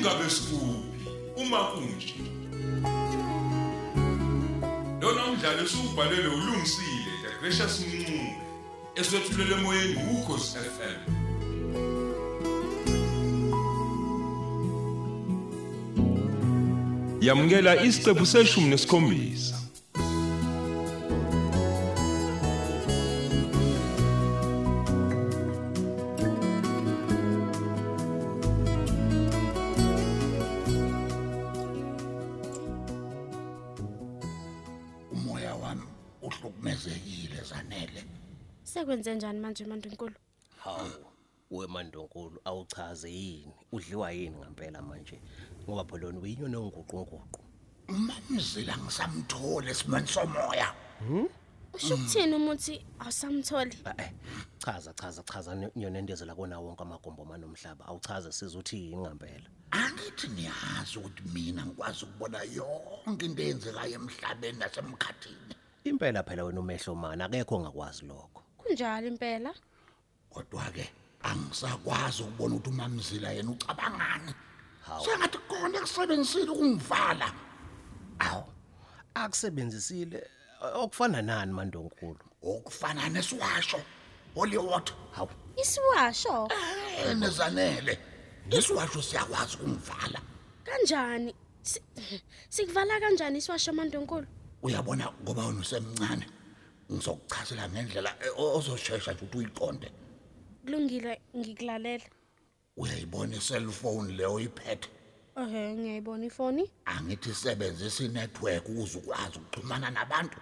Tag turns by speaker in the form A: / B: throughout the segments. A: ngabe sikuphi uma kunje lona umdlalo esubhalelwe ulungisile the gracious mncube eswetshulele emoyeni ukhosi FM yamukela isiqephu seshumi nesikhombisa
B: umoya wami uhlukumezekile zanele
C: sekwenze njani manje mandunkulu
D: Hawu wemandonkulu awuchaze yini udliwa yini ngempela manje ngoba pholona uyinyoni onguqunguqu
B: umamzila ngisamthola esimeni somoya
C: usho ukuthini umuthi awusamtholi
D: Eh chaza chaza chaza ne- nyonendezela kona wonke amagombo manomhlaba awuchaze siza uthi yini ngempela
B: angithi niyazi ukuthi mina ngikwazi ukubona yonke into eyenzekayo emhlabeni nasemkhathini
D: impela phela wena umehlo mana akekho ongakwazi lokho
C: kunjalo impela
B: kodwa-ke angisakwazi ukubona ukuthi umamzila yena ucabangani
D: Hawu.
B: sengathi kona ekusebenzisile ukungivala
D: awu akusebenzisile eh, okufana nani mandonkulu
B: okufana nesiwasho oliwot
D: hawu
C: isiwasho
B: enezanele Eh, isiwasho siyakwazi ukungivala
C: kanjani Si- sikuvala kanjani isiwasho mandunkulu
B: uyabona ngoba wena usemncane ngizokuchazela ngendlela e- o- ozoshesha nje ukuthi uyiqonde
C: kulungile ngikulalela
B: uyayibona iselfone leyo iphethe
C: ehe ngiyayibona ifoni
B: angithi isebenzisa inetwork ukuze ukwazi ukuxhumana nabantu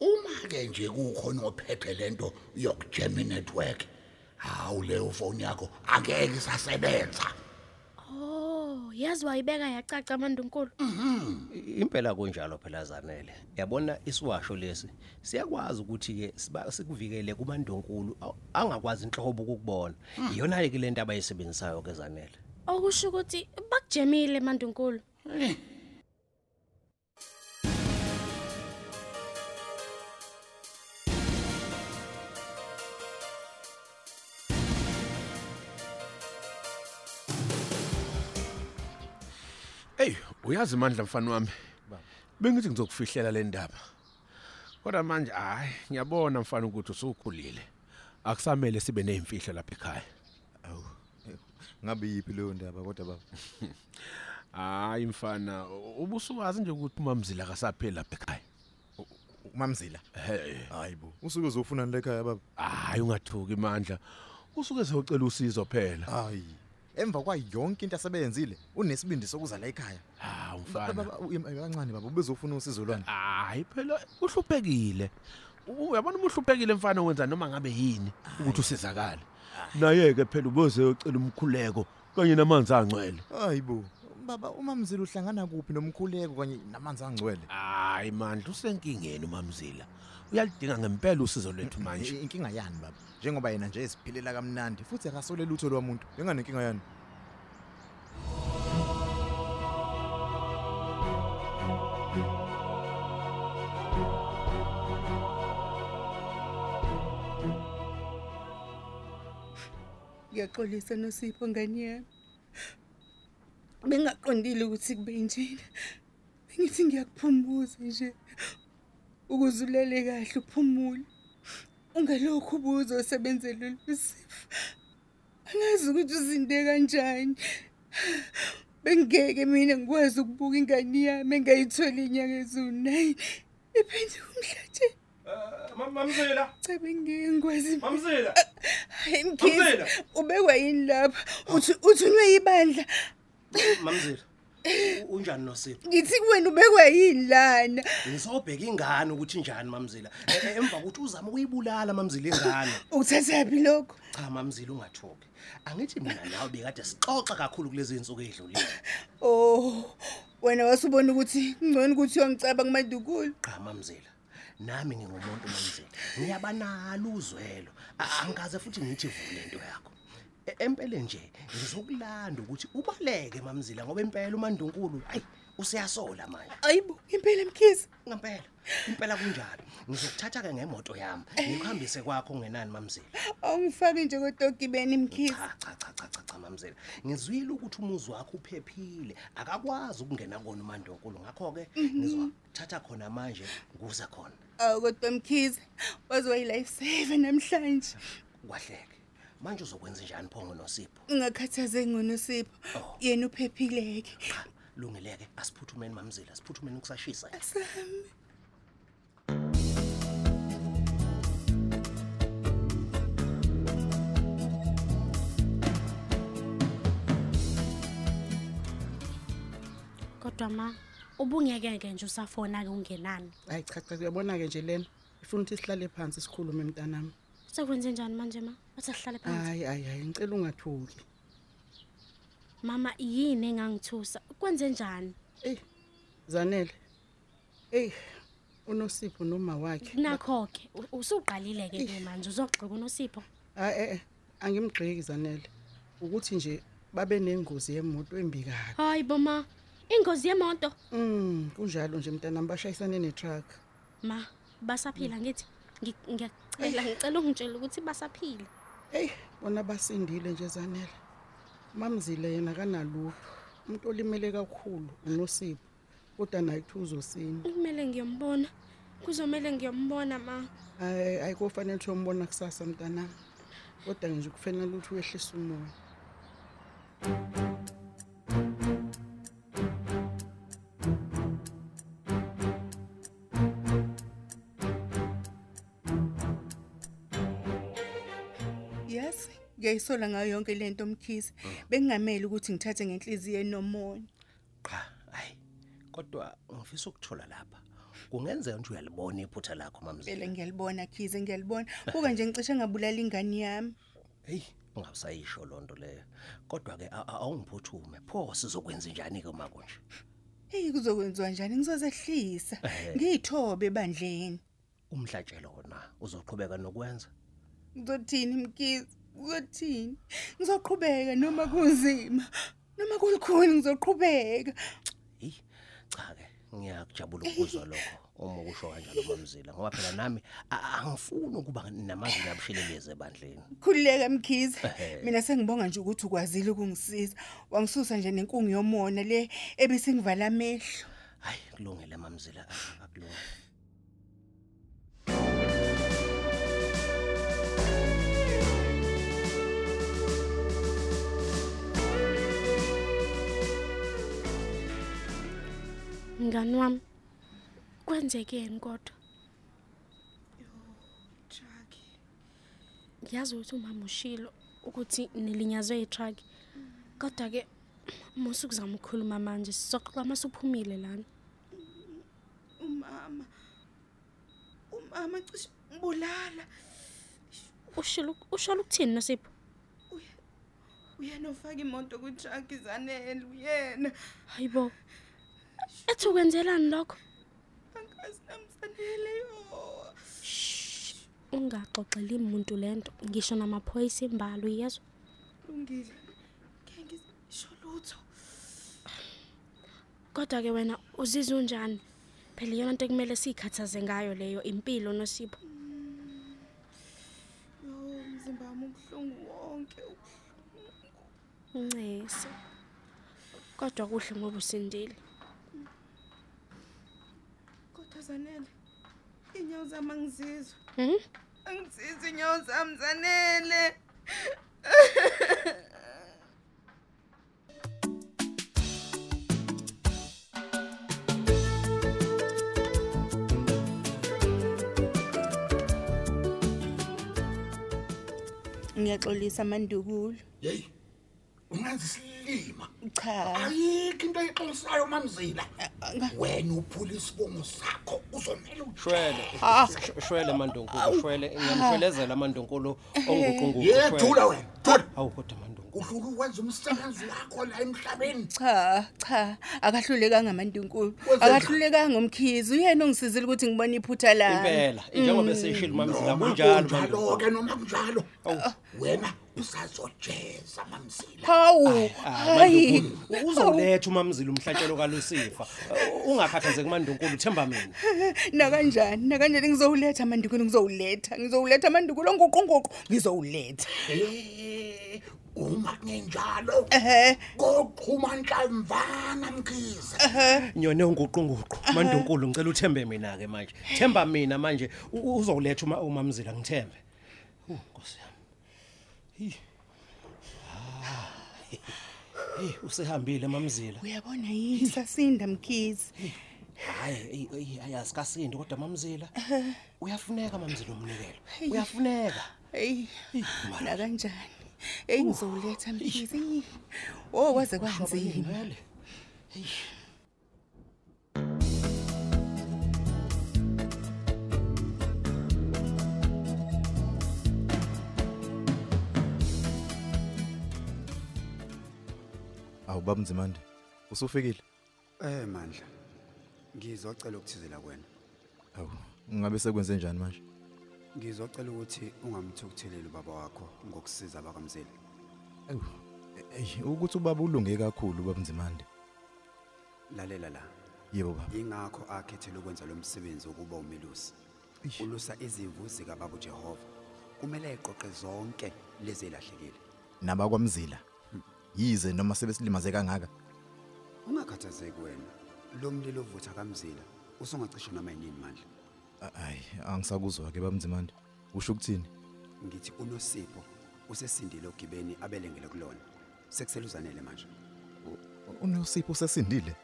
B: uma-ke nje kukhona ophethe lento yokujema inetwork hawu leyo foni yakho angeke isasebenza
C: oh yazi wayibeka yacaca mandunkulu
D: I- impela kunjalo phela zanele yabona isiwasho lesi siyakwazi ukuthi ke siba- sikuvikele kumandonkulu aw- angakwazi inhlobo ukubona
E: Hmm.
D: iyona ke lento abayisebenzisayo ke zanele
C: okusho ukuthi bakujemile mandunkulu
F: Ey, uyazi mandla mfana wami. Bengithi ngizokufihlela le ndaba. Kodwa manje hayi, ngiyabona mfana ukuthi usukhulile. Akusamele sibe nezimfihlo lapha ekhaya.
G: Awu. eh, Ngabe yipi leyo ndaba kodwa baba?
F: Hayi mfana, u- ubusuwazi nje ukuthi umamzila akasapheli lapha ekhaya.
G: Umamzila.
F: Hey.
G: Hayibo. Usuke uzofunani lekhaya baba?
F: Hayi ungathuki mandla. Usuke ezocela usizo phela.
G: Hayi. Emva kwayonke into asebeyenzile, unesibindi sokuza la ekhaya.
F: Hawu mfana.
G: Baba uye- uye kancane baba ubezofuna usizo lwani.
F: Hayi phela uhluphekile. U- Uyabona uma uhluphekile mfana wenza noma ngabe yini ukuthi usizakale. Naye ke phela uboze ucela umkhuleko kanye namanzi angcwele.
G: Hayibo. Baba umamzila uhlangana kuphi nomkhuleko kanye namanzi angcwele?
F: Hayi mandla usenkingeni umamzila. Uyalidinga ngempela usizo lwethu manje.
G: I- Inkinga yani baba? Njengoba yena nje esiphilela kamnandi futhi akasole lutho lwamuntu. Benganenkinga yani?
H: ngiyaxolisa nosipho ngani yami bengaqondile ukuthi kube njena bengithi ngiyakuphumuza nje ukuze ulele kahle uphumule ungalokhu ubuze osebenzela lusifo angazi ukuthi uzinde kanjani bengeke mina ngikwazi ukubuka ingane yami engayitholi inyanga eziwu-nine iphinde umhlatshe
E: Eh, Mamzila,
H: cebe ngeke ngikwazi
E: Mamzila.
H: Hayi
E: Mamzila!
H: mkhize ubekwa yini lapha uthi uthunywe yibandla
D: mamzila Eh, unjani nosipho
H: ngithi kuwena ubekwa yini lana
D: ngisobheka ingane ukuthi njani mamzila Eh, emva kokuthi uzama ukuyibulala mamzila ingane
H: uthathaphi lokho
D: cha mamzila ungathuki angithi mina nawe bekade sixoxa kakhulu kulezi insuku ezidlulile
H: oh wena wasubona ukuthi ngcono ukuthi uyongicaba kumandukulu
D: cha mamzila nami ngingumuntu mamzila ngiyabanalo uzwelo A- angikaze futhi ngithi vule into yakho E- empeleni nje ngizokulanda ukuthi ubaleke mamzila ngoba impela umandunkulu hayi useyasola manje
H: ayibo impela mkhize
D: ngempela impela kunjalo ngizokuthatha ke ngemoto yami ngikuhambise kwakho ungenani mamzila
H: awungifaki nje kotogibeni mkhize
D: cha cha cha cha cha cha mamzela ngizwile ukuthi umuzi wakho uphephile akakwazi ukungena kona umandonkulu ngakho ke ngizothatha khona manje nguza khona
H: awu kodwa mkhize waziwa yi-life saver namhlanje
D: kwahleke manje uzokwenza njani phongo nosipho
H: ungakhathazeki ngonosipho yena uphephileke
D: cha lungileke asiphuthumeni mamzela asiphuthumeni kusashisa
C: kodwa ma ubungekeke nje usafona-ke ungenani
I: hayi cha cha uyabona-ke nje lena ifuna ukuthi sihlale phansi sikhulume mntanami
C: sekwenze njani manje ma wathi asihlale phansi
I: hayi hayi hayi ngicela ungathuki
C: mama yini engangithusa kwenze njani
I: eyi zanele eyi unosipho noma wakhe
C: nakho-ke u- usuqalile-ke ke manje uzogxika unosipho
I: hayi e-e angimgxiki eh, zanele ukuthi nje babe nengozi yemoto embi kabi
C: hayi bo ma ingozi yemoto
I: um kunjalo nje mntanami bashayisane netruck
C: ma basaphila ngithi Ngi- ngiyacela ngicela ungitshela ukuthi basaphila
I: eyi bona basindile nje zanele mamzile yena kanalutho umuntu olimele kakhulu unosipho kodwa naye kuthi uzosinda
C: kumele ngiyombona kuzomele ngiyombona ma
I: Ay- ayi kofanele ukuthi uyombona kusasa mntanami kodwa nje kufanele ukuthi wehlise umoya
H: yazi ngiyayisola ngayo yonke le nto mkhize bengingamele ukuthi ngithathe ngenhliziyo enomona
D: cha hayi kodwa ngifisa ukuthola lapha kungenzeka nje uyalibona iphutha lakho
H: vele
D: mamzela
H: ngiyalibona khize ngiyalibona kuka nje ngicishe ngabulala ingane yami
D: heyi ungabusayisho loo nto leyo kodwa-ke a- a- awungiphuthume pho sizokwenza njani-ke uma kunje
H: eyi kuzokwenziwa njani ngizozehlisa ngiyithobe ebandleni
D: umhlatshelo wona uzoqhubeka nokwenza
H: ngizothini mkizi ngizothini ngizoqhubeka noma kunzima noma kulikhulu ngizoqhubeka
D: Hey, cha ke ngiyakujabula ukuzwa lokho uma ukusho kanjalo mamzila ngoba phela nami a- angifuni ukuba namazinga abusheleleze ebandleni.
H: khululeka mkhize
D: Ehhe.
H: mina sengibonga nje ukuthi ukwazile ukungisiza wangisusa nje nenkungu yomona le ebisingivala amehlo
D: Hayi kulungile mamzila akulungile.
C: mngani wami kwenzekeni kodwa ngiyazi ukuthi umama ushilo ukuthi nilinyazwe yitruck kodwa-ke musukuzama ukukhuluma manje sizoxoxa masuphumile lana
H: umama umama cishe mbulala
C: ushilo ushola ukuthini nosipho
H: uyena ofaka imoto kwitraki zanele uyena
C: hayi bo ethi ukwenzelani lokho
H: angazi namsanele yo
C: ungaxoxeli muntu le nto ngisho namaphoyisa imbalo yezwa
H: lungile ke ngisho lutho
C: kodwa-ke wena uzizwe unjani phela iyona nto ekumele siyikhathaze ngayo leyo impilo nosipho
H: yo umzimba wami ubuhlungu wonke
C: ncese kodwa kuhle ngoba usindile
H: kodwa zanele iy'nyawo zami angizizwa
C: Mhm.
H: angizizwa iy'nyawo zami zanele ngiyaxolisa mandukulu
B: yeyi ungazi silima
H: cha
B: ayikho into eyixolisayo mamzila wena uphula isibongo sakho uzomele
D: Shwele, sh- shwele mandonkulu, shwele ngiyamshwelezela mandonkulu onguqungu.
B: yethula wena thula
D: Hawu kodwa mandonkulu.
B: uhlule ukwenza umsebenzi wakho la emhlabeni
H: cha cha akahlulekanga amandunkulu
B: Wenzeni?
H: akahlulekanga umkhizi uyena ongisizile ukuthi ngibone iphutha lami
D: impela njengoba seyishilo mamzila kunjalo
B: kunjalo
D: mandunkulu
B: ke noma kunjalo wena usazojeza mamzila
H: hawu hayi
D: Mandunkulu, Ah, uzoletha umamzila umhlatshelo kalusifa ungakhathazeki mandunkulu themba mina
H: nakanjani nakanjani ngizowuletha amandukulu ngizowuletha ngizowuletha amandukulu onguqunguqu ngizowuletha
B: Eh, uma kungenjalo
H: ehe
B: koqhuma nhlamvana mkhize
D: nyone unguqunguqu mandunkulu ngicela uthembe mina ke manje themba mina manje u- uzoletha uma umamzila ngithembe Uh, nkosi yami Hi. Ah. Hey usehambile mamzila
H: uyabona yini sasinda mkhizi
D: hayi eyi, eyi, asikasindi eh, kodwa mamzila uyafuneka mamzila umnikelo uyafuneka
H: eyi nakanjani eyi ngizowuletha mkhizi Eyi. oh kwaze kwanzima
D: vele
G: awu baba mzimande usufikile
J: Eh mandla. Ngizocela ukuthizela kwena.
G: awu ngabe sekwenze njani manje
J: Ngizocela ukuthi ungamthukutheleli baba wakho ngokusiza abakamzeli.
G: awu eyi ukuthi ubaba ulunge kakhulu baba mzimande
J: Lalela la.
G: yebo baba
J: Ingakho akhethele ukwenza lo msebenzi ukuba umelusi. Ulusa izimvu zikababa uJehova. Kumele eqoqe zonke lezi lahlekile.
G: nabakwamzila yize noma sebesilimaze kangaka
J: Ungakhathazeki wena. Lo mlilo ovutha kamzila usungacishe noma yini mandla.
G: hayi angisakuzwa ke baba mzimande usho ukuthini
J: Ngithi unosipho usesindile ogibeni abelengele kulona. Sekuseluzanele manje.
G: unosipho usesindile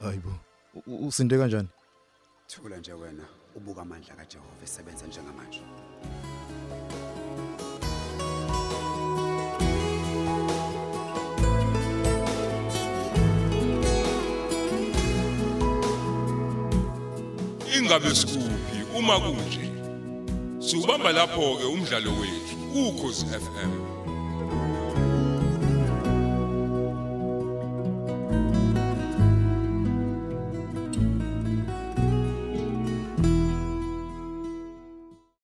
G: hayibo u- u- usinde kanjani
J: Thula nje wena ubuka amandla kaJehova esebenza njengamanje.
A: ingabe sikuphi uma kunje siubamba lapho ke umdlalo wethu ukhozi FM